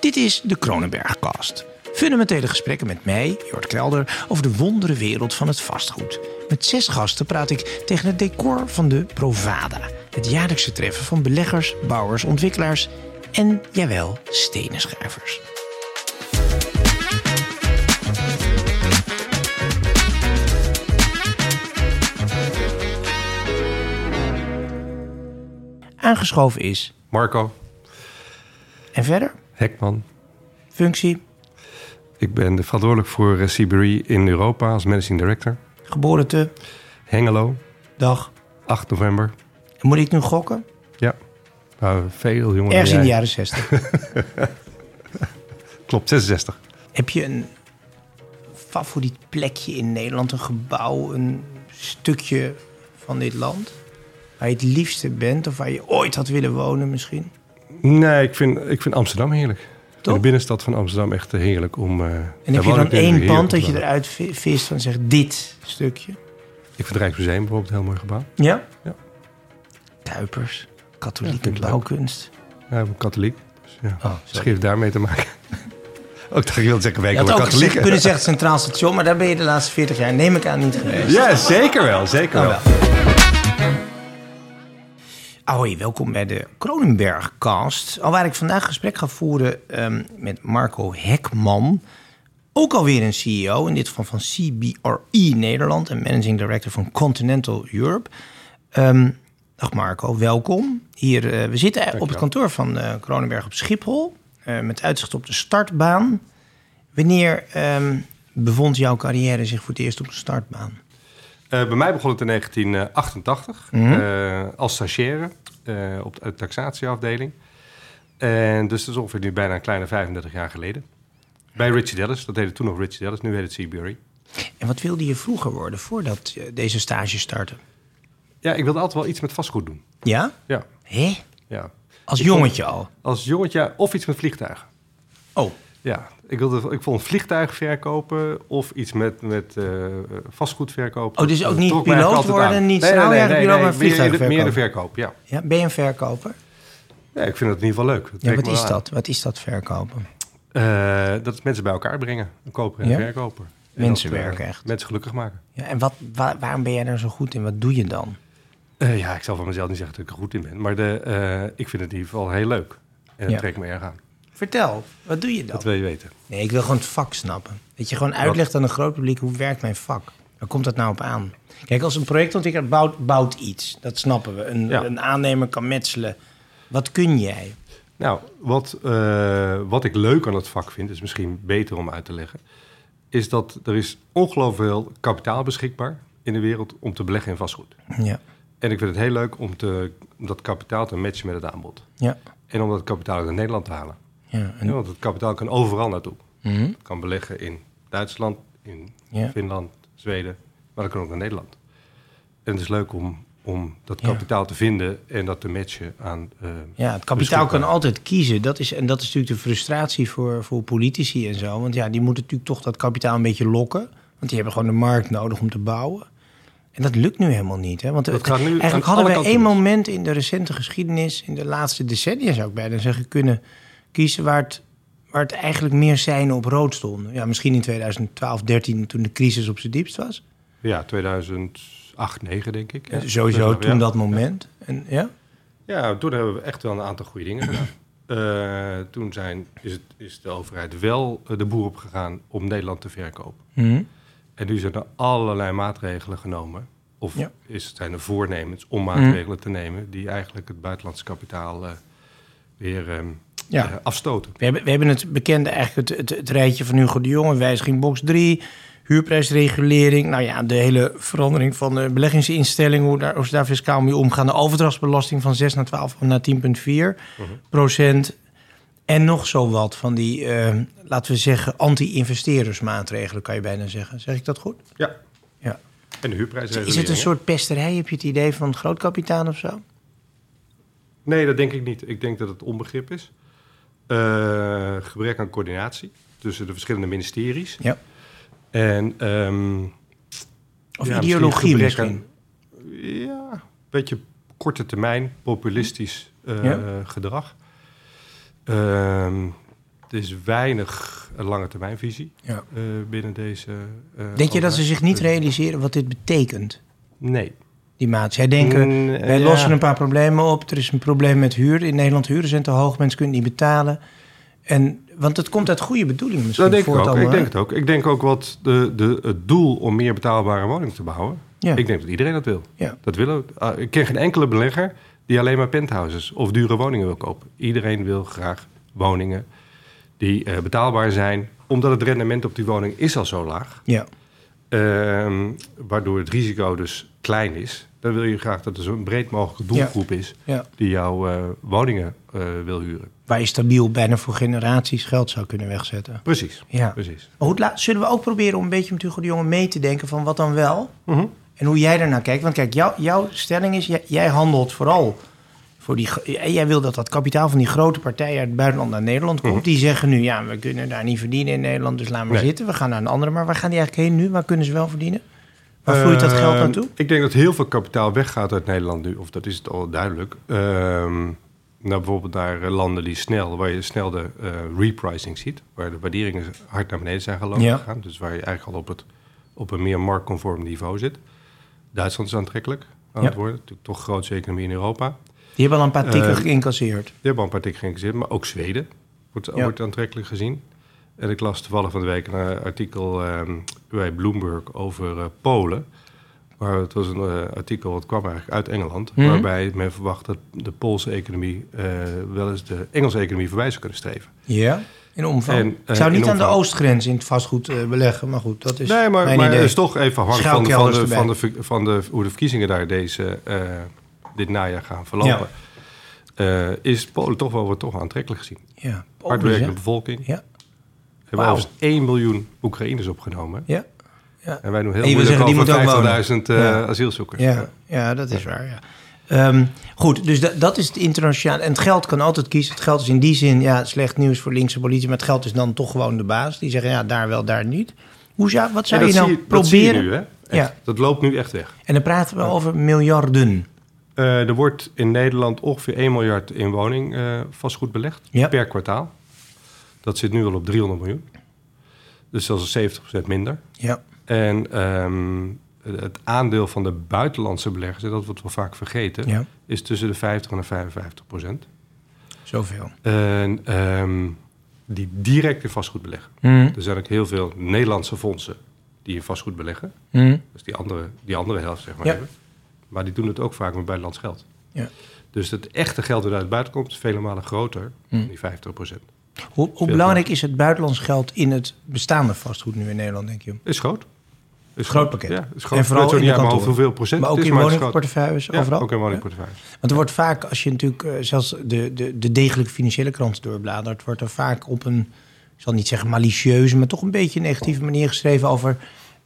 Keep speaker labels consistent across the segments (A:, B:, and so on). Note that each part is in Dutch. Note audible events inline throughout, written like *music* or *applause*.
A: Dit is de Kronenbergcast. Fundamentele gesprekken met mij, Jort Kelder, over de wondere wereld van het vastgoed. Met zes gasten praat ik tegen het decor van de Provada. Het jaarlijkse treffen van beleggers, bouwers, ontwikkelaars en, jawel, stenenschuivers. Aangeschoven is
B: Marco
A: en verder
B: Hekman.
A: functie
B: Ik ben verantwoordelijk voor eh, CBRE in Europa als Managing Director.
A: geboren te
B: Hengelo,
A: dag.
B: 8 november.
A: Moet ik nu gokken?
B: Ja, Nou, veel jonger
A: Ergens
B: dan
A: in de
B: jij.
A: jaren 60.
B: *laughs* Klopt, 66.
A: Heb je een favoriet plekje in Nederland, een gebouw, een stukje van dit land? Waar je het liefste bent of waar je ooit had willen wonen misschien?
B: Nee, ik vind, ik vind Amsterdam heerlijk. In
A: Toch?
B: de binnenstad van Amsterdam echt eh, heerlijk om... eh,
A: En
B: daar
A: heb je
B: woon
A: dan
B: ik nu heerlijk
A: één
B: om
A: pand
B: te
A: dat je
B: wonen.
A: eruit vi- vist en zegt dit stukje?
B: Ik vind het Rijksmuseum bijvoorbeeld een heel mooi gebouw.
A: Ja?
B: Ja.
A: Kuipers,
B: Ja,
A: katholieke
B: vind ik leuk.
A: blauwkunst.
B: Ja, ik ben katholiek, dus ja.
A: Oh,
B: Misschien heeft het daarmee te maken. *laughs* ook dacht ik wilde zeggen, wij
A: Je had
B: komen
A: ook gezegd-
B: katholieken.
A: kunnen zeggen Centraal Station, maar daar ben je de laatste 40 jaar, neem ik aan, niet geweest.
B: *laughs* Ja, zeker wel, zeker
A: Nou
B: wel.
A: wel. Ahoy, welkom bij de Kronenbergcast. Alwaar ik vandaag gesprek ga voeren ehm, met Marco Hekman. Ook alweer een CEO, in dit geval van CBRE E Nederland... en Managing Director van Continental Europe. Ehm, dag Marco, welkom. Hier, eh, we zitten op het
B: wel.
A: kantoor van eh Kronenberg op Schiphol... eh, met uitzicht op de startbaan. Wanneer ehm, bevond jouw carrière zich voor het eerst op de startbaan?
B: Eh, bij mij begon het in 1988
A: Mhm.
B: eh, als stagiaire eh, op de taxatieafdeling. En dus dat is ongeveer nu bijna een kleine 35 jaar geleden. Bij Richie Dallas, dat heette toen nog Richie Dallas, nu heet het Seabury.
A: En wat wilde je vroeger worden voordat eh, deze stage startte?
B: Ja, ik wilde altijd wel iets met vastgoed doen.
A: Ja?
B: Ja,
A: Hé?
B: ja.
A: Als jongetje al?
B: Als jongetje ja, of iets met vliegtuigen.
A: Oh,
B: Ja, ik, wilde, ik vond vliegtuig verkopen of iets met, met eh, vastgoed verkopen.
A: Oh, dus ook
B: Dat
A: niet
B: trok mij
A: piloot
B: eigenlijk altijd
A: worden,
B: aan.
A: niet straaljager piloot, maar
B: meer-
A: vliegtuig
B: Meer de verkoop, ja.
A: ja, ben je een verkoper?
B: ja. Ik vind het in ieder geval leuk. Dat
A: Ja,
B: trekt
A: wat
B: me
A: is
B: wel aan.
A: dat? Wat is dat verkopen?
B: Eh, dat is mensen bij elkaar brengen. Een koper en een
A: Ja?
B: verkoper. En
A: Mensen
B: dat, eh,
A: werken echt.
B: Mensen gelukkig maken.
A: Ja, en wat, wa- waarom ben jij daar zo goed in? Wat doe je dan?
B: Eh, ja, ik zal van mezelf niet zeggen dat ik er goed in ben. Maar de, eh, ik vind het in ieder geval heel leuk. En dat
A: Ja. Nou.
B: trekt me erg aan.
A: Vertel, wat doe je
B: Dat
A: dan?
B: wil je weten.
A: Nee, ik wil gewoon het vak snappen. Dat je gewoon uitlegt aan een groot publiek hoe werkt mijn vak. Waar komt dat nou op aan? Kijk, als een projectontwikkelaar bouwt, bouwt iets. Dat snappen we. Een,
B: Ja.
A: een aannemer kan metselen. Wat kun jij?
B: Nou, wat, eh, wat ik leuk aan het vak vind, is misschien beter om uit te leggen, is dat er is ongelooflijk veel kapitaal beschikbaar in de wereld om te beleggen in vastgoed.
A: Ja.
B: En ik vind het heel leuk om, te, om dat kapitaal te matchen met het aanbod.
A: Ja.
B: En om dat kapitaal uit Nederland te halen.
A: ja.
B: Ja, want het kapitaal kan overal naartoe.
A: Mhm.
B: Het kan beleggen in Duitsland, in
A: Ja.
B: Finland, Zweden, maar dat kan ook naar Nederland. En het is leuk om, om dat
A: Ja.
B: kapitaal te vinden en dat te matchen aan.
A: Ja,
B: eh,
A: het kapitaal kan
B: beschikbaar.
A: altijd kiezen. Dat is, en dat is natuurlijk de frustratie voor, voor politici en zo. Want ja, die moeten natuurlijk toch dat kapitaal een beetje lokken. Want die hebben gewoon de markt nodig om te bouwen. En dat lukt nu helemaal niet. Hè? Want
B: Dat
A: het-
B: gaat nu aan
A: eigenlijk
B: alle
A: hadden wij
B: kanten dus.
A: één
B: mis.
A: moment in de recente geschiedenis, in de laatste decennia zou ik bijna zeggen, kunnen kiezen waar het, waar het eigenlijk meer zijn op rood stonden. Ja, misschien in 2012, 13 toen de crisis op zijn diepst was.
B: ja, 2008, 2009 denk ik. Ja.
A: Sowieso
B: Ja,
A: toen
B: ja.
A: dat moment. En, ja?
B: Ja, toen hebben we echt wel een aantal goede
A: *clears throat*
B: dingen gedaan. Eh, toen zijn, is, het, is de overheid wel eh, de boer op gegaan om Nederland te verkopen.
A: Mhm.
B: En nu zijn er allerlei maatregelen genomen. Of
A: Ja. Mhm.
B: is, zijn er voornemens om maatregelen te nemen die eigenlijk het buitenlandse kapitaal eh, weer ehm,
A: Ja.
B: eh, afstoten.
A: We hebben, we hebben het bekende, eigenlijk het, het, het rijtje van Hugo de Jonge, wijziging box 3, huurprijsregulering. Nou ja, de hele verandering van de beleggingsinstelling, hoe, daar, hoe ze daar fiscaal mee omgaan. De overdrachtsbelasting van 6 naar 12 naar 10,4 procent. En nog zo wat van die, eh, laten we zeggen, anti-investeerdersmaatregelen, kan je bijna zeggen. Zeg ik dat goed?
B: Ja.
A: Ja.
B: En de huurprijsregulering.
A: Is het een
B: hè?
A: soort pesterij? Heb je het idee van groot kapitaal of zo?
B: Nee, dat denk ik niet. Ik denk dat het onbegrip is. Eh, gebrek aan coördinatie tussen de verschillende ministeries.
A: Ja.
B: En, ehm,
A: Of
B: ja,
A: ideologie misschien?
B: gebrek aan- ja, een beetje korte termijn populistisch eh,
A: Ja.
B: gedrag. Ehm, Er is weinig eh, lange termijnvisie
A: Ja.
B: eh, binnen deze. eh,
A: Denk je dat
B: overheid.
A: ze zich niet realiseren wat dit betekent,
B: Nee.
A: die maat? Zij denken,
B: Mm,
A: wij
B: ja.
A: lossen een paar problemen op. Er is een probleem met huur. In Nederland huren zijn te hoog, mensen kunnen niet betalen. En, want het komt uit goede bedoelingen misschien.
B: Dat denk ik
A: voor het
B: ook. Ik
A: allemaal.
B: denk het ook. Ik denk ook wat de, de, het doel om meer betaalbare woningen te bouwen.
A: Ja.
B: Ik denk dat iedereen dat wil.
A: Ja.
B: Dat willen. we. Ah, ik ken geen enkele belegger die alleen maar penthouses of dure woningen wil kopen. Iedereen wil graag woningen die eh, betaalbaar zijn, omdat het rendement op die woning is al zo laag,
A: Ja.
B: Ehm waardoor het risico dus klein is. Dan wil je graag dat er zo'n breed mogelijke doelgroep is
A: ja.
B: die jouw eh, woningen eh, wil huren.
A: Waar je stabiel bijna voor generaties geld zou kunnen wegzetten.
B: Precies.
A: Ja.
B: Precies.
A: Maar goed, la- zullen we ook proberen om een beetje met Hugo de Jonge mee te denken van wat dan wel?
B: Mhm.
A: En hoe jij daarnaar kijkt. Want kijk, jou- jouw stelling is, jij, jij handelt vooral voor die... gro- en Jij wil dat dat kapitaal van die grote partijen uit het buitenland naar Nederland komt. Die zeggen nu, ja, we kunnen daar niet verdienen in Nederland, dus laat maar
B: Mhm. Nee.
A: zitten. We gaan naar een andere. Maar waar gaan die eigenlijk heen nu? Waar kunnen ze wel verdienen? Waar vloeit dat geld
B: Ehm,
A: naartoe?
B: Ik denk dat heel veel kapitaal weggaat uit Nederland nu, of dat is het al duidelijk. Ehm naar bijvoorbeeld naar eh, landen die snel, waar je snel de eh, repricing ziet, waar de waarderingen hard naar beneden zijn gelopen.
A: Ja.
B: gegaan. Dus waar je eigenlijk al op, het, op een meer marktconform niveau zit. Duitsland is aantrekkelijk aan
A: Ja.
B: het worden, natuurlijk toch grootste economie in Europa.
A: Die hebben al een paar tikken
B: eh,
A: geïncasseerd.
B: Die hebben al een paar tikken gezet, maar ook Zweden wordt,
A: Ja.
B: wordt aantrekkelijk gezien. En ik las toevallig van de week een eh, artikel ehm, bij Bloomberg over eh, Polen. Maar het was een eh, artikel dat kwam eigenlijk uit Engeland.
A: Mhm.
B: Waarbij men verwacht dat de Poolse economie eh, wel eens de Engelse economie voorbij zou kunnen streven.
A: Ja, in omvang.
B: En, eh,
A: ik zou
B: in
A: niet aan de
B: omvang.
A: oostgrens in het vastgoed eh, beleggen, maar goed, dat is
B: nee, maar,
A: mijn
B: maar eh,
A: idee.
B: het is toch even afhankelijk van, de- van, de,
A: Schuilkelders
B: van, de, ver- van de, hoe de verkiezingen daar deze, eh, dit najaar gaan verlopen.
A: Ja.
B: Eh, is Polen toch wel wordt toch aantrekkelijk gezien.
A: ja,
B: Hardwerkende
A: Polen, hè?
B: bevolking.
A: Ja,
B: We hebben
A: Wauw.
B: al 1 miljoen Oekraïners opgenomen.
A: ja.
B: En wij doen heel
A: En je wil
B: moeilijk
A: zeggen, die
B: over
A: moet ook
B: 50.000 eh,
A: wonen. Ja.
B: asielzoekers.
A: Ja, ja dat is waar, ja. Ehm, goed, dus da- dat is het internationaal. En het geld kan altijd kiezen. Het geld is in die zin ja, slecht nieuws voor linkse politie. Maar het geld is dan toch gewoon de baas. Die zeggen ja, daar wel, daar niet. Hoe zou, wat zou
B: En
A: je
B: dat
A: nou
B: zie je- Dat zie je
A: proberen?
B: nu, hè? Echt.
A: Ja.
B: Dat loopt nu echt weg.
A: En dan praten we over miljarden.
B: Eh, er wordt in Nederland ongeveer 1 miljard in woning eh, vastgoed belegd
A: Ja.
B: per kwartaal. Dat zit nu al op 300 miljoen. Dus dat is 70% minder.
A: Ja,
B: En ehm, het aandeel van de buitenlandse beleggers, en dat wordt wel vaak vergeten,
A: ja,
B: is tussen de 50 en de 55 procent.
A: zoveel.
B: En ehm, die direct in vastgoed beleggen.
A: Hm,
B: Er zijn ook heel veel Nederlandse fondsen die in vastgoed beleggen.
A: hm.
B: Dus die andere, die andere helft, zeg maar.
A: Ja.
B: Even. Maar die doen het ook vaak met buitenlands geld.
A: Ja.
B: Dus het echte geld dat uit het buitenland komt is vele malen groter
A: Hmm.
B: dan die 50
A: Hoe, hoe belangrijk is het buitenlands geld in het bestaande vastgoed nu in Nederland, denk je?
B: Is groot. Is
A: Groot pakket.
B: Ja, is
A: En
B: groot.
A: vooral
B: En vooral
A: in
B: niet
A: de
B: helemaal
A: kantoren.
B: hoeveel procent
A: Maar ook
B: het is,
A: in
B: maar het is groot.
A: woningportefeuilles, overal?
B: Ja, ook in
A: Ja.
B: woningportefeuille.
A: Want er wordt vaak, als je natuurlijk eh, zelfs de, de, de degelijke financiële krant doorbladert, wordt er vaak op een, ik zal niet zeggen malicieuze, maar toch een beetje negatieve manier geschreven over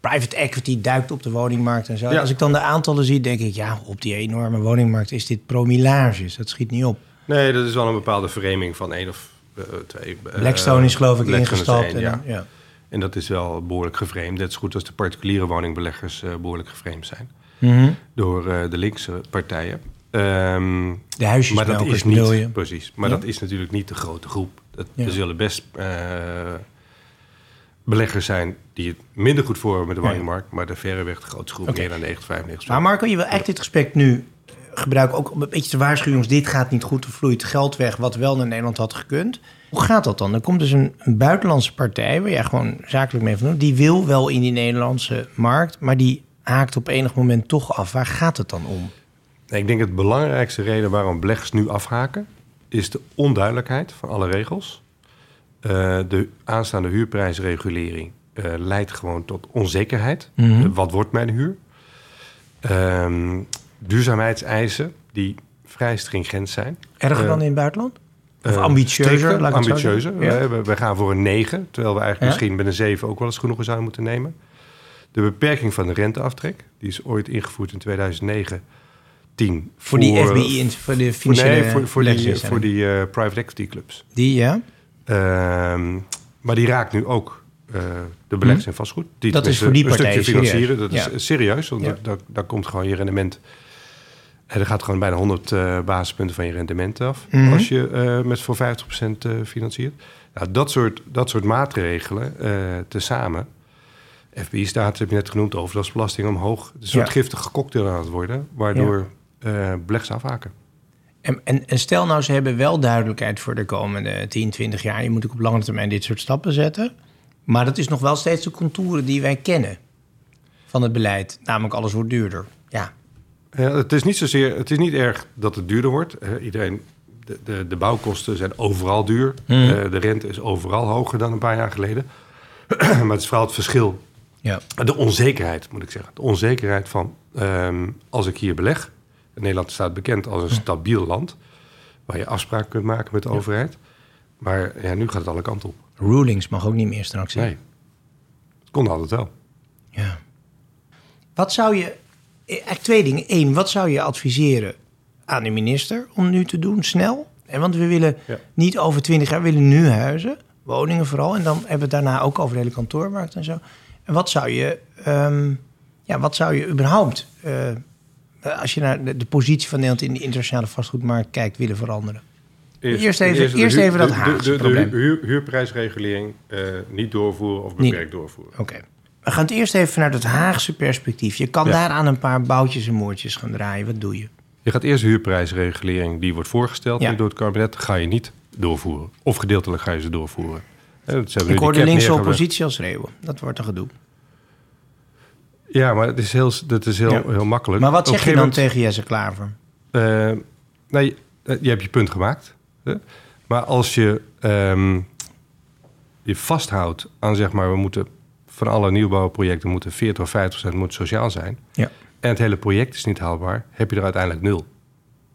A: private equity duikt op de woningmarkt en zo.
B: Ja.
A: Als ik dan de aantallen zie, denk ik, ja, op die enorme woningmarkt is dit promilages. Dat schiet niet op.
B: Nee, dat is wel een bepaalde vereming van één of eh, twee. eh,
A: Blackstone is geloof ik
B: Blackstone is
A: ingestapt.
B: één,
A: en,
B: ja.
A: ja.
B: En dat is wel behoorlijk gevreemd. Net zo goed als de particuliere woningbeleggers eh, behoorlijk gevreemd zijn.
A: Mhm.
B: Door eh, de linkse partijen. Ehm
A: De huisjes
B: maar dat is niet,
A: bedoel je.
B: precies. Maar
A: Ja.
B: dat is natuurlijk niet de grote groep. Dat,
A: Ja.
B: Er zullen best eh, beleggers zijn die het minder goed voor hebben met de
A: Ja.
B: woningmarkt, maar de verreweg de grootste groep,
A: Oké.
B: meer dan 90, 95.
A: Maar Marco, je wil echt dit gesprek nu eh, gebruiken, ook om een beetje te waarschuwen, jongens, dit gaat niet goed, er vloeit geld weg, wat wel naar Nederland had gekund. Hoe gaat dat dan? Dan komt dus een, een buitenlandse partij, waar jij gewoon zakelijk mee van doet, die wil wel in die Nederlandse markt, maar die haakt op enig moment toch af. Waar gaat het dan om?
B: Nee, Ik denk dat de belangrijkste reden waarom beleggers nu afhaken... is de onduidelijkheid van alle regels. Eh, de aanstaande huurprijsregulering eh, leidt gewoon tot onzekerheid.
A: Mhm.
B: Eh, wat wordt mijn huur? Ehm, duurzaamheidseisen die vrij stringent zijn.
A: Erger
B: Eh,
A: dan in het buitenland? Of
B: Eh,
A: ambitieuzer,
B: strikter,
A: laat ik het zo
B: ambitieuzer. Eh,
A: zeggen. Ja.
B: We, we- we gaan voor een 9, terwijl we eigenlijk
A: Ja.
B: misschien met een 7 ook wel eens genoegen zouden moeten nemen. De beperking van de renteaftrek, die is ooit ingevoerd in 2009, 10.
A: Voor die FBI, in- voor de
B: Voor,
A: financiële
B: nee, voor, voor die,
A: beleggingsinstellingen.
B: voor die eh, private equity clubs.
A: Die, ja?
B: Ehm, maar die raakt nu ook eh, de beleggers in vastgoed. Die
A: Mhm. Dat is
B: tenminste
A: voor die
B: een
A: partijen
B: stukje financieren.
A: serieus.
B: Dat is
A: Ja.
B: serieus, want
A: Ja.
B: daar, daar komt gewoon je rendement En dan gaat gewoon bijna 100 eh, basispunten van je rendement af.
A: Mhm.
B: Als je eh, met voor 50% eh, financiert. Nou, dat, soort, dat soort maatregelen eh tezamen. FBI-staat heb je net genoemd, overdrachtsbelasting omhoog. Het is een
A: Ja.
B: soort giftige cocktail aan het worden, waardoor eh beleggers afhaken.
A: En, en, en stel nou, ze hebben wel duidelijkheid voor de komende 10, 20 jaar. Je moet ook op lange termijn dit soort stappen zetten. Maar dat is nog wel steeds de contouren die wij kennen van het beleid. Namelijk alles wordt duurder. Ja,
B: Ja, het is niet zozeer, het is niet erg dat het duurder wordt. Eh, iedereen, de, de, de bouwkosten zijn overal duur.
A: Hmm.
B: Eh, de rente is overal hoger dan een paar jaar geleden. *clears throat* maar het is vooral het verschil.
A: ja.
B: De onzekerheid, moet ik zeggen. De onzekerheid van, ehm, als ik hier beleg... Nederland staat bekend als een stabiel land... waar je afspraken kunt maken met de overheid. Maar ja, nu gaat het alle kanten op.
A: Rulings mag ook niet meer straks. hè?
B: Nee. Het kon altijd wel.
A: Ja. Wat zou je, eh, eigenlijk twee dingen. Eén, wat zou je adviseren aan de minister om nu te doen, snel? En want we willen
B: Ja.
A: niet over twintig jaar, we willen nu huizen, woningen vooral. En dan hebben we het daarna ook over de hele kantoormarkt en zo. En wat zou je, ehm, ja, wat zou je überhaupt, eh, als je naar de, de positie van Nederland in de internationale vastgoedmarkt kijkt, willen veranderen? Eerst even-
B: de
A: eerst
B: huur-
A: even dat
B: de- de-
A: Haagse
B: De, de,
A: probleem.
B: huur- huurprijsregulering eh, niet doorvoeren of
A: Niet.
B: beperkt doorvoeren.
A: Oké. We gaan het eerst even vanuit het Haagse perspectief. Je kan
B: Ja.
A: daaraan een paar boutjes en moordjes gaan draaien. Wat doe je?
B: Je gaat eerst de huurprijsregulering, die wordt voorgesteld
A: Ja.
B: nu door het kabinet, ga je niet doorvoeren. Of gedeeltelijk ga je ze doorvoeren. Eh, dat ze hebben nu
A: Ik
B: die
A: hoor de
B: cap
A: linkse
B: neergelegd.
A: oppositie al schreeuwen. Dat wordt een gedoe.
B: Ja, maar dat is heel, dat is heel,
A: Ja.
B: heel makkelijk.
A: Maar wat
B: Op een
A: zeg je dan
B: gegeven
A: tegen Jesse Klaver?
B: moment, eh, nou, je, eh, je hebt je punt gemaakt. hè? Maar als je ehm, je vasthoudt aan, zeg maar, we moeten van alle nieuwbouwprojecten moeten 40 of 50 procent moet sociaal zijn.
A: Ja.
B: en het hele project is niet haalbaar, heb je er uiteindelijk nul. Dan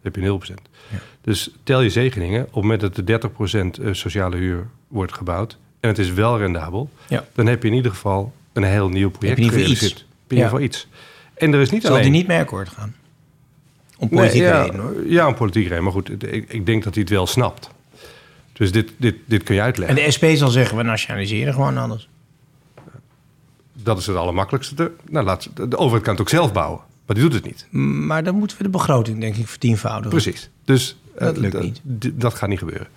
B: heb je 0%.
A: Ja.
B: Dus tel je zegeningen. Op het moment dat er 30% eh, sociale huur wordt gebouwd en het is wel rendabel,
A: Ja.
B: dan heb je in ieder geval een heel nieuw project
A: in ieder geval
B: gerealiseerd.
A: iets.
B: Heb je in ieder geval iets. En er is niet
A: Zal
B: alleen...
A: die niet mee akkoord gaan? Om
B: Nee,
A: politieke
B: ja,
A: redenen hoor.
B: Ja, een politieke reden. Maar goed, het- ik, ik denk dat hij het wel snapt. Dus dit, dit, dit kun je
A: En
B: uitleggen.
A: de SP zal zeggen, we nationaliseren gewoon alles.
B: Dat is het allermakkelijkste. De- Nou, laat, ze- de de overheid kan het ook zelf bouwen. Maar die doet het niet.
A: Maar dan moeten we de begroting denk ik vertienvoudigen.
B: Precies. Dus eh,
A: Dat lukt
B: d-
A: niet.
B: d- Dat gaat niet gebeuren.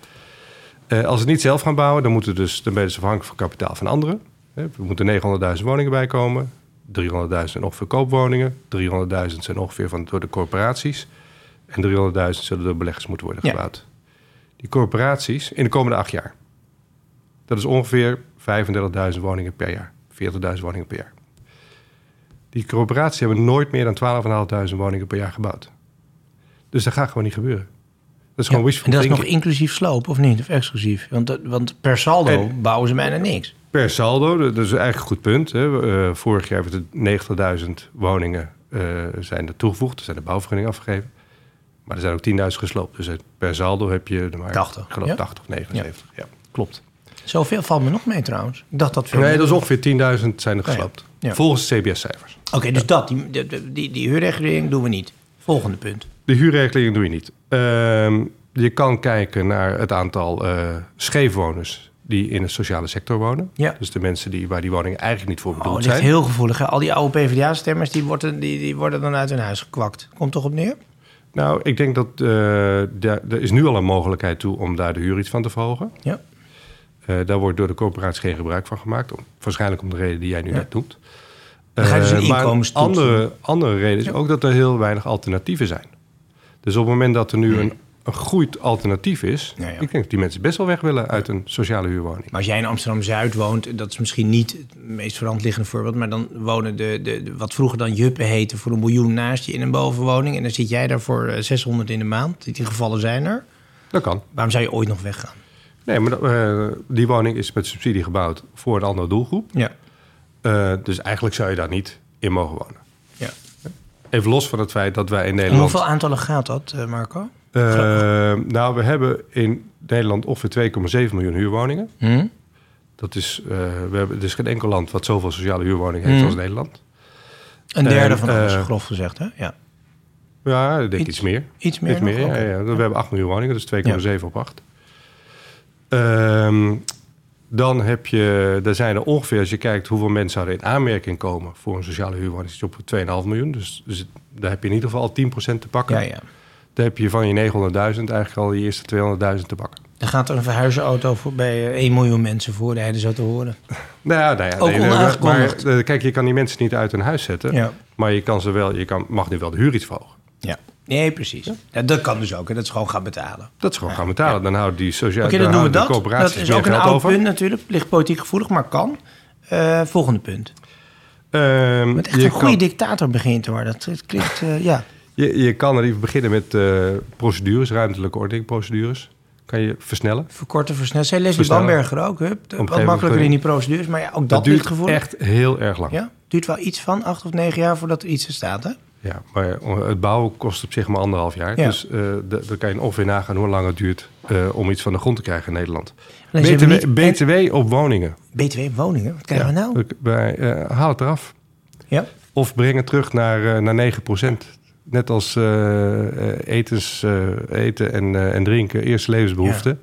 B: Eh, als ze het niet zelf gaan bouwen, dan moeten we dus dan ben je dus afhankelijk van kapitaal van anderen. Hè, Er moeten 900.000 woningen bij komen. 300.000 zijn ongeveer koopwoningen. 300.000 zijn ongeveer van, door de corporaties. En 300.000 zullen door beleggers moeten worden
A: Ja.
B: gebouwd. Die corporaties in de komende acht jaar. Dat is ongeveer 35.000 woningen per jaar. 40.000 woningen per jaar. Die corporaties hebben nooit meer dan 12.500 woningen per jaar gebouwd. Dus dat gaat gewoon niet gebeuren. Dat is
A: Ja.
B: gewoon wishful
A: en dat is nog
B: thinking.
A: inclusief sloop of niet? Of exclusief? Want, dat- want per saldo
B: En-
A: bouwen ze bijna niks.
B: Per saldo, dat is eigenlijk een goed punt. Hè. We, eh, vorig jaar hebben er 90.000 woningen eh, zijn er toegevoegd. Er zijn de bouwvergunningen afgegeven. Maar er zijn ook 10.000 gesloopt. Dus eh, per saldo heb je er maar
A: 80,
B: ik geloof
A: ja?
B: 80 79. Ja. klopt.
A: Zoveel valt me nog mee trouwens. Ik dacht dat veel
B: Nee,
A: meer.
B: dat is ongeveer 10.000 zijn er
A: Nee.
B: gesloopt.
A: Ja.
B: Volgens de CBS-cijfers.
A: Oké, dus dat, die, die, die, die huurregulering doen we niet. Volgende punt.
B: De huurregeling doe je niet. Ehm, je kan kijken naar het aantal eh scheefwoners die in de sociale sector wonen.
A: Ja.
B: Dus de mensen die, waar die woningen eigenlijk niet voor
A: Oh,
B: bedoeld
A: dat is
B: zijn.
A: heel gevoelig. Hè? Al die oude PvdA-stemmers die worden, die, die worden dan uit hun huis gekwakt. Komt toch op neer?
B: Nou, ik denk dat eh, daar, er is nu al een mogelijkheid toe om daar de huur iets van te verhogen.
A: Ja.
B: Eh, daar wordt door de corporaties geen gebruik van gemaakt. Om, waarschijnlijk om de reden die jij nu net doet.
A: Dan ga je dus een
B: Eh, maar
A: inkomenstoets
B: andere, andere reden is ook dat er heel weinig alternatieven zijn. Dus op het moment dat er nu een, een goed alternatief is...
A: Ja, ja.
B: ik denk dat die mensen best wel weg willen uit een sociale huurwoning.
A: Maar als jij in Amsterdam-Zuid woont, dat is misschien niet het meest voor de hand liggende voorbeeld... maar dan wonen de, de, de- wat vroeger dan juppen heten voor een miljoen naast je in een bovenwoning... en dan zit jij daar voor eh, 600 in de maand. Die gevallen zijn er.
B: Dat kan.
A: Waarom zou je ooit nog weggaan?
B: Nee, maar dat, eh, die woning is met subsidie gebouwd voor een andere doelgroep.
A: Ja.
B: Eh, dus eigenlijk zou je daar niet in mogen wonen.
A: ja.
B: Even los van het feit dat wij in
A: Om
B: Nederland...
A: hoeveel aantallen gaat dat, eh, Marco?
B: Eh, nou, we hebben in Nederland ongeveer 2,7 miljoen huurwoningen.
A: Hm?
B: Dat is, eh, we hebben, er is geen enkel land wat zoveel sociale huurwoningen heeft
A: Hmm.
B: als Nederland.
A: Een derde
B: Eh,
A: van alles,
B: eh,
A: grof gezegd. Hè? Ja.
B: Ja, ik denk
A: Iets-
B: iets, meer.
A: Iets meer
B: iets meer
A: nog?
B: ja,
A: Oké.
B: ja. We hebben 8 miljoen woningen, dus 2,7 op 8. Ehm, Dan heb je, daar zijn er ongeveer, als je kijkt hoeveel mensen er in aanmerking komen voor een sociale huurwoning, zit je op 2,5 miljoen. Dus, dus daar heb je in ieder geval al 10% te pakken.
A: Ja, ja.
B: Dan heb je van je 900.000 eigenlijk al je eerste 200.000 te pakken.
A: Er gaat een verhuizenauto voor bij eh, 1 miljoen mensen voorrijden, zo te horen.
B: Nou ja, nou ja
A: Ook
B: maar-
A: onaangekondigd.
B: maar, eh, kijk, je kan die mensen niet uit hun huis zetten.
A: Ja.
B: Maar je, kan ze wel, je kan, mag nu wel de huur iets verhogen.
A: Ja. Nee, precies. Ja, dat kan dus ook. En dat is gewoon gaan betalen.
B: Dat is gewoon gaan betalen. Dan houden die sociale
A: Oké,
B: dan
A: dan doen we
B: houden
A: dat.
B: de
A: Dat
B: coöperaties
A: is
B: meer
A: ook een
B: geld
A: oud
B: over.
A: punt natuurlijk. Ligt politiek gevoelig, maar kan. Eh, volgende punt.
B: Ehm,
A: Met echt
B: je
A: een goede
B: kan-
A: dictator begint te worden. Dat, dat klinkt, eh, ja.
B: Je, je kan er even beginnen met eh, procedures, ruimtelijke ordeningprocedures. Kan je versnellen.
A: Verkorten, versnellen. Zij Leslie
B: Versnellen.
A: Bamberger ook. Hup.
B: gegeven
A: Wat
B: moment
A: makkelijker
B: kun
A: in
B: je-
A: die procedures. Maar ja, ook dat, ligt
B: duurt
A: gevoelig.
B: echt heel erg lang. Ja.
A: Ja? Duurt wel iets van acht of negen jaar voordat er iets er staat, hè?
B: maar eh, het bouwen kost op zich maar anderhalf jaar.
A: Ja.
B: Dus eh, d- dan kan je ongeveer nagaan hoe lang het duurt eh, om iets van de grond te krijgen in Nederland.
A: Alleen ze hebben
B: BTW,
A: niet-
B: BTW op woningen.
A: BTW woningen, wat krijgen we nou?
B: Ik- Bij, eh, haal het eraf.
A: Ja.
B: Of breng het terug naar, eh, naar 9%. Net als eh, eh, etens, eh, eten en, eh, en drinken, eerste levensbehoeften.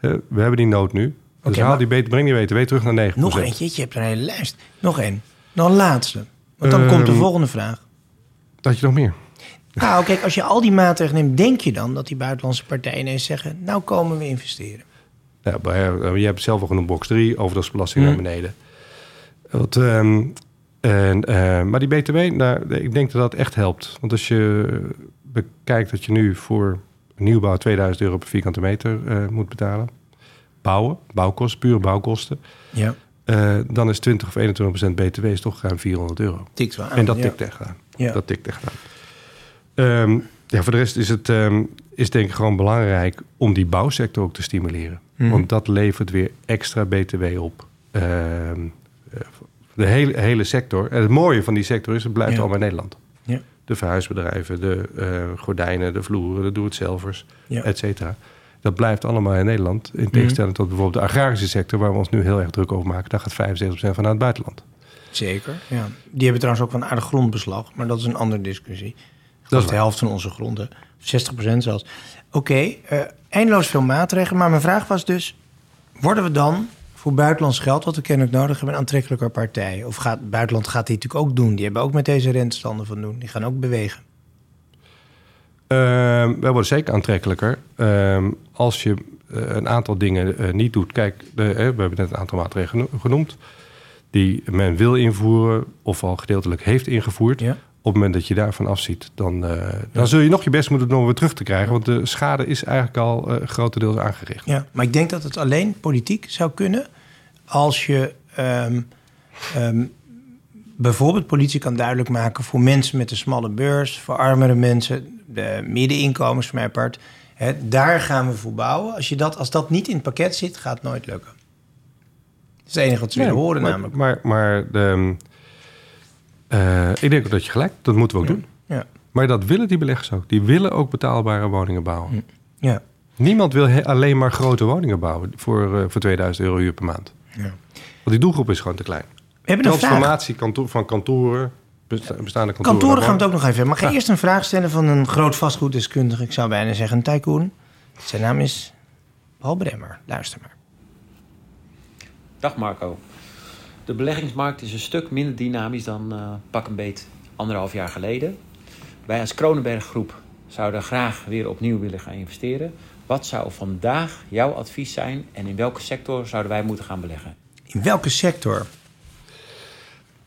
B: Eh, we hebben die nood nu. dus
A: Oké,
B: haal
A: maar-
B: die bet- breng die BTW terug naar 9%.
A: Nog eentje, je hebt er een hele lijst. Nog één. Dan een laatste. Want dan komt de
B: Ehm.
A: volgende vraag.
B: Dat je nog meer.
A: Nou, kijk, als je al die maatregelen neemt, denk je dan dat die buitenlandse partijen ineens zeggen: Nou komen we investeren?
B: Ja, maar, eh, je hebt zelf al genoemd box 3, overdagsbelasting naar beneden. Wat, ehm, en, eh, maar die BTW, daar, ik denk dat dat echt helpt. Want als je bekijkt dat je nu voor nieuwbouw 2000 euro per vierkante meter eh, moet betalen. Bouwen, bouwkosten, pure bouwkosten.
A: Ja,
B: eh, dan is 20 of 21 procent BTW is toch ruim 400 euro.
A: tikt wel aan.
B: En dat
A: Ah, ja.
B: tikt echt aan.
A: Ja.
B: Dat tikt echt aan. Ehm, ja, voor de rest is het ehm, is denk ik gewoon belangrijk om die bouwsector ook te stimuleren.
A: Mhm.
B: Want dat levert weer extra BTW op. Ehm, eh, de hele, hele sector. En het mooie van die sector is, het blijft
A: Ja.
B: allemaal in Nederland.
A: Ja.
B: De verhuisbedrijven, de eh, gordijnen, de vloeren, de doe-het-zelvers,
A: Ja. Mhm.
B: et cetera. Dat blijft allemaal in Nederland. In tegenstelling tot bijvoorbeeld de agrarische sector, waar we ons nu heel erg druk over maken. Daar gaat 75% van naar het buitenland.
A: Zeker. Ja. Die hebben trouwens ook wel een aardig grondbeslag, maar dat is een andere discussie. Dat is de
B: waar.
A: helft van onze gronden, 60% zelfs. Oké, eh, eindeloos veel maatregelen, maar mijn vraag was dus: worden we dan voor buitenlands geld, wat we kennelijk nodig hebben, een aantrekkelijker partij? Of gaat buitenland gaat die natuurlijk ook doen? Die hebben ook met deze rentestanden van doen. Die gaan ook bewegen.
B: Ehm, wij worden zeker aantrekkelijker ehm, als je eh, een aantal dingen eh, niet doet. Kijk, de, eh, we hebben net een aantal maatregelen geno- genoemd die men wil invoeren of al gedeeltelijk heeft ingevoerd.
A: Ja.
B: Op het moment dat je daarvan afziet, dan, eh, dan zul je nog je best moeten doen om weer terug te krijgen. Want de schade is eigenlijk al eh, grotendeels aangericht.
A: Ja, maar ik denk dat het alleen politiek zou kunnen als je ehm, ehm, bijvoorbeeld politie kan duidelijk maken voor mensen met een smalle beurs, voor armere mensen, de middeninkomens voor mijn part. Hè, daar gaan we voor bouwen. Als, je dat, als dat niet in het pakket zit, gaat het nooit lukken. Dat is het enige wat ze willen
B: Nee,
A: horen
B: maar,
A: namelijk.
B: Maar, maar de, ehm, eh, ik denk ook dat je gelijk, dat moeten we ook doen.
A: Ja,
B: Maar dat willen die beleggers ook. Die willen ook betaalbare woningen bouwen.
A: ja.
B: Niemand wil he- alleen maar grote woningen bouwen voor, eh, voor 2000 euro huur per maand.
A: ja.
B: Want die doelgroep is gewoon te klein.
A: We hebben een vraag. Eh,
B: Transformatie kantoor, van kantoren, besta- bestaande kantoren.
A: Kantoren gaan we het
B: naar
A: ook nog even hebben. Mag ik eerst een vraag stellen van een groot vastgoeddeskundige? Ik zou bijna zeggen een tycoon. Zijn naam is Paul Bremmer. Luister maar.
C: Dag Marco. De beleggingsmarkt is een stuk minder dynamisch dan eh, pak een beet anderhalf jaar geleden. Wij als Kronenberg Groep zouden graag weer opnieuw willen gaan investeren. Wat zou vandaag jouw advies zijn en in welke sector zouden wij moeten gaan beleggen?
A: In welke sector?
B: woningen.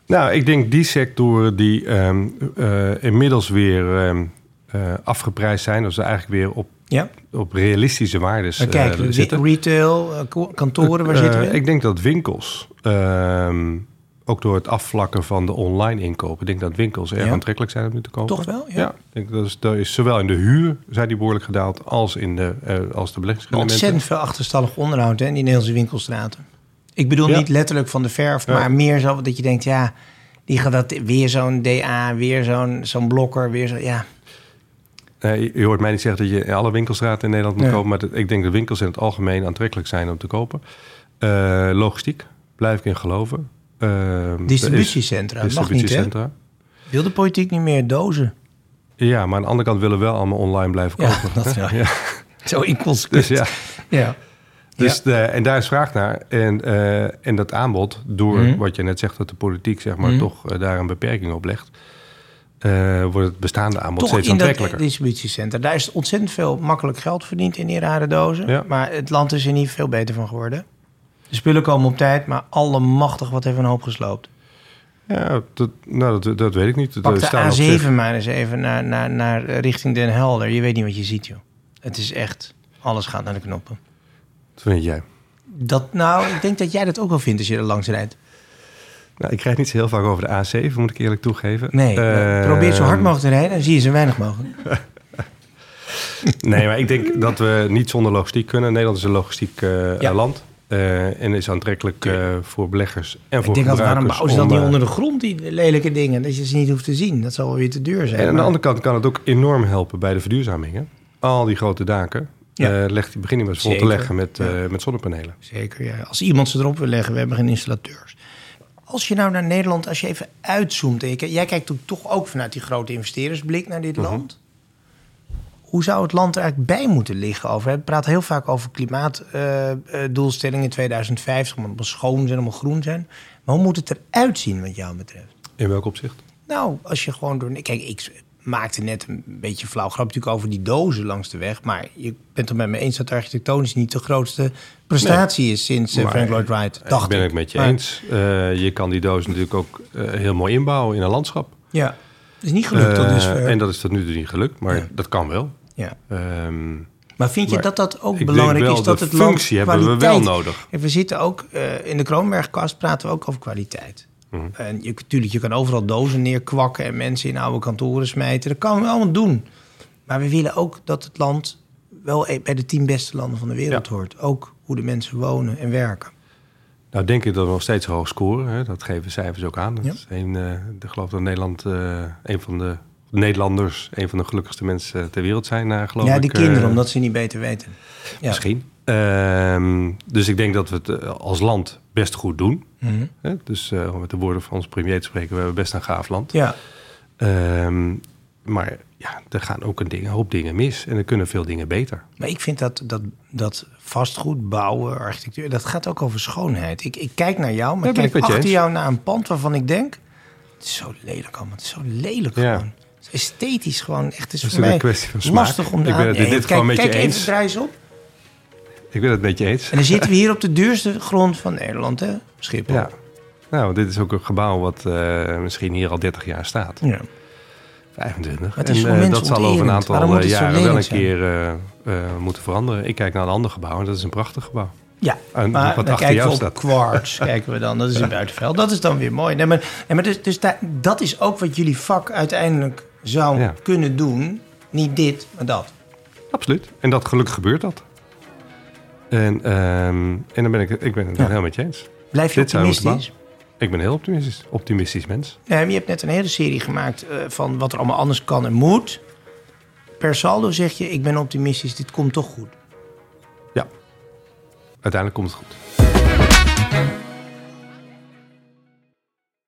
B: Nou, ik denk die sectoren die ehm, eh, inmiddels weer ehm, eh, afgeprijsd zijn. Dus eigenlijk weer op,
A: Ja,
B: op realistische waarden
A: maar kijk, re-
B: Eh, zitten.
A: retail, eh, ko- kantoren, waar zitten we?
B: Eh, ik denk dat winkels, ehm, ook door het afvlakken van de online inkopen, ik denk dat winkels erg
A: Ja.
B: aantrekkelijk zijn om nu te kopen.
A: Toch wel, ja.
B: ik denk dat is, dat is zowel in de huur zijn die behoorlijk gedaald als in de, eh als de beleggingsrendementen.
A: Ontzettend veel achterstallig onderhoud hè, in die Nederlandse winkelstraten. Ik bedoel
B: Ja.
A: niet letterlijk van de verf,
B: Ja.
A: maar meer zo dat je denkt, ja, die gaat dat weer zo'n DA, weer zo'n zo'n blokker, weer zo, ja.
B: Eh, je- je hoort mij niet zeggen dat je in alle winkelstraten in Nederland moet
A: Nee.
B: kopen, maar dat- ik denk dat winkels in het algemeen aantrekkelijk zijn om te kopen. Eh, logistiek, blijf ik in geloven. Ehm, er is-
A: Distributiecentra, dat mag niet hè.
B: distributiecentra.
A: Wil de politiek niet meer dozen?
B: Ja, maar aan de
A: *laughs*
B: andere *laughs* kant willen we wel allemaal online blijven
A: Ja,
B: kopen.
A: dat wel.
B: Ja,
A: Zo inconsequent.
B: dus ja.
A: ja.
B: Dus de, en daar is vraag naar. En, eh, en dat aanbod, door
A: Mhm.
B: wat je net zegt, dat de politiek zeg maar,
A: Mhm.
B: toch eh, daar een beperking op legt, eh, wordt het bestaande aanbod
A: Toch
B: steeds
A: in dat
B: aantrekkelijker.
A: distributiecentrum. Daar is ontzettend veel makkelijk geld verdiend in die rare dozen.
B: Ja.
A: Maar het land is er niet veel beter van geworden. De spullen komen op tijd, maar allemachtig wat hebben we een hoop gesloopt.
B: Ja, dat, nou, dat, dat weet ik niet.
A: Pak
B: Er staan op
A: de
B: zich-
A: A7 maar eens even naar, naar, naar eh, richting Den Helder. Je weet niet wat je ziet, joh. Het is echt, alles gaat naar de knoppen.
B: Wat vind jij?
A: Dat, nou, ik denk dat jij dat ook wel vindt als je er langs rijdt.
B: Nou, ik krijg niet zo heel vaak over de A7, moet ik eerlijk toegeven.
A: Nee, nou,
B: Eh,
A: probeer zo hard mogelijk te rijden en zie je zo weinig mogelijk.
B: Nee, maar ik denk dat we niet zonder logistiek kunnen. Nederland is een logistiek eh,
A: Ja.
B: land. eh, en is aantrekkelijk eh, voor beleggers en
A: Ik
B: voor
A: denk altijd, waarom
B: gebruikers.
A: bouwen ze dat
B: om,
A: niet
B: eh,
A: onder de grond, die lelijke dingen? Dat je ze niet hoeft te zien. Dat zal wel weer te duur zijn.
B: En eh, aan de
A: maar-
B: andere kant kan het ook enorm helpen bij de verduurzaming. Hè? Al die grote daken.
A: Ja.
B: eh leg, begin die maar eens vol te
A: Zeker.
B: leggen met, eh, met zonnepanelen.
A: Nou, Zeker, ja. Als iemand ze erop wil leggen, we hebben geen installateurs. Als je nou naar Nederland, als je even uitzoomt... en je kijkt- jij kijkt toen toch ook vanuit die grote investeerdersblik naar dit land. Hoe zou het land er eigenlijk bij moeten liggen over? We praten heel vaak over klimaatdoelstellingen eh, 2050. Het moet schoon zijn, allemaal groen zijn. Maar hoe moet het eruit zien wat jou betreft?
B: In welk opzicht?
A: Nou, als je gewoon door... Kijk, ik maakte net een beetje flauw grap natuurlijk over die dozen langs de weg. Maar je bent het met me eens dat architectonisch niet de grootste prestatie is sinds eh,
B: Maar-
A: Frank Lloyd Wright.
B: Daar
A: Dacht
B: ben ik met je
A: Maar-
B: eens. Eh, je kan die doos natuurlijk ook eh, heel mooi inbouwen in een landschap.
A: Ja, dat is niet gelukt tot
B: Eh,
A: dusver.
B: en dat is tot nu toe niet gelukt, maar
A: Ja.
B: dat kan wel.
A: ja.
B: Ehm,
A: Maar vind je
B: Maar
A: dat dat ook
B: ik
A: belangrijk
B: denk wel
A: is? Dat
B: de
A: het land
B: functie hebben we wel
A: kwaliteit-
B: nodig.
A: Kijk, We zitten ook eh, in de Kroonbergkast, praten we ook over kwaliteit.
B: Mhm.
A: En je, tuurlijk, je kan overal dozen neerkwakken en mensen in oude kantoren smijten. Dat kan we allemaal doen. Maar we willen ook dat het land wel e- bij de tien beste landen van de wereld
B: Ja.
A: hoort. Ook hoe de mensen wonen en werken.
B: nou denk ik dat we nog steeds hoog scoren. Hè? Dat geven cijfers ook aan. Dat
A: Ja.
B: is een, eh, ik geloof dat Nederland eh, een van de Nederlanders, een van de gelukkigste mensen ter wereld zijn, eh, geloof
A: ja,
B: ik.
A: die
B: eh,
A: kinderen, omdat ze niet beter weten. Ja.
B: Misschien. Ehm, dus ik denk dat we het eh, als land best goed doen.
A: Mhm.
B: Hè? Dus eh, om met de woorden van ons premier te spreken, we hebben best een gaaf land.
A: Ja,
B: Ehm, maar ja, er gaan ook een, ding, een hoop dingen mis en er kunnen veel dingen beter.
A: maar ik vind dat, dat, dat vastgoed, bouwen, architectuur... dat gaat ook over schoonheid. Ik, ik kijk naar jou, maar
B: Ja,
A: ik
B: ben ik
A: kijk
B: met je
A: achter
B: eens.
A: jou naar een pand waarvan ik denk... het is zo lelijk allemaal, het is zo lelijk
B: Ja.
A: gewoon. Het is esthetisch gewoon, echt het is
B: Dat is
A: voor mij
B: een kwestie van smaak.
A: lastig om
B: Ik
A: daar-
B: ben het in
A: Nee,
B: dit geval
A: kijk,
B: met je
A: kijk even,
B: eens.
A: draai eens op.
B: Ik ben het met je eens.
A: En dan zitten we hier op de duurste grond van Nederland, hè? Schiphol.
B: Ja. Nou, dit is ook een gebouw wat eh, misschien hier al 30 jaar staat.
A: Ja.
B: 25.
A: Maar het is voor
B: en eh,
A: mensen
B: dat zal over een
A: onterend.
B: aantal
A: Waarom moet
B: eh,
A: het zo
B: jaren wel een
A: lelijk zijn?
B: keer eh, eh, moeten veranderen. Ik kijk naar een ander gebouw en dat is een prachtig gebouw.
A: Ja,
B: En
A: maar
B: wat
A: dan
B: achter
A: kijken
B: jou
A: we op
B: staat. *laughs*
A: Quartz, kijken we dan. Dat is in buitenveld. Dat is dan weer mooi. Nee, maar, nee, maar dus, dus daar- dat is ook wat jullie vak uiteindelijk zou
B: Ja.
A: kunnen doen. Niet dit, maar dat.
B: Absoluut. En dat gelukkig gebeurt dat. En, ehm, en dan ben ik, ik ben het
A: Ja.
B: helemaal met je eens.
A: Blijf je
B: Dit zijn we
A: optimistisch?
B: Ik ben een heel optimistisch, optimistisch mens.
A: Nee, maar je hebt net een hele serie gemaakt eh, van wat er allemaal anders kan en moet. Per saldo zeg je, ik ben optimistisch, dit komt toch goed.
B: Uiteindelijk komt het goed.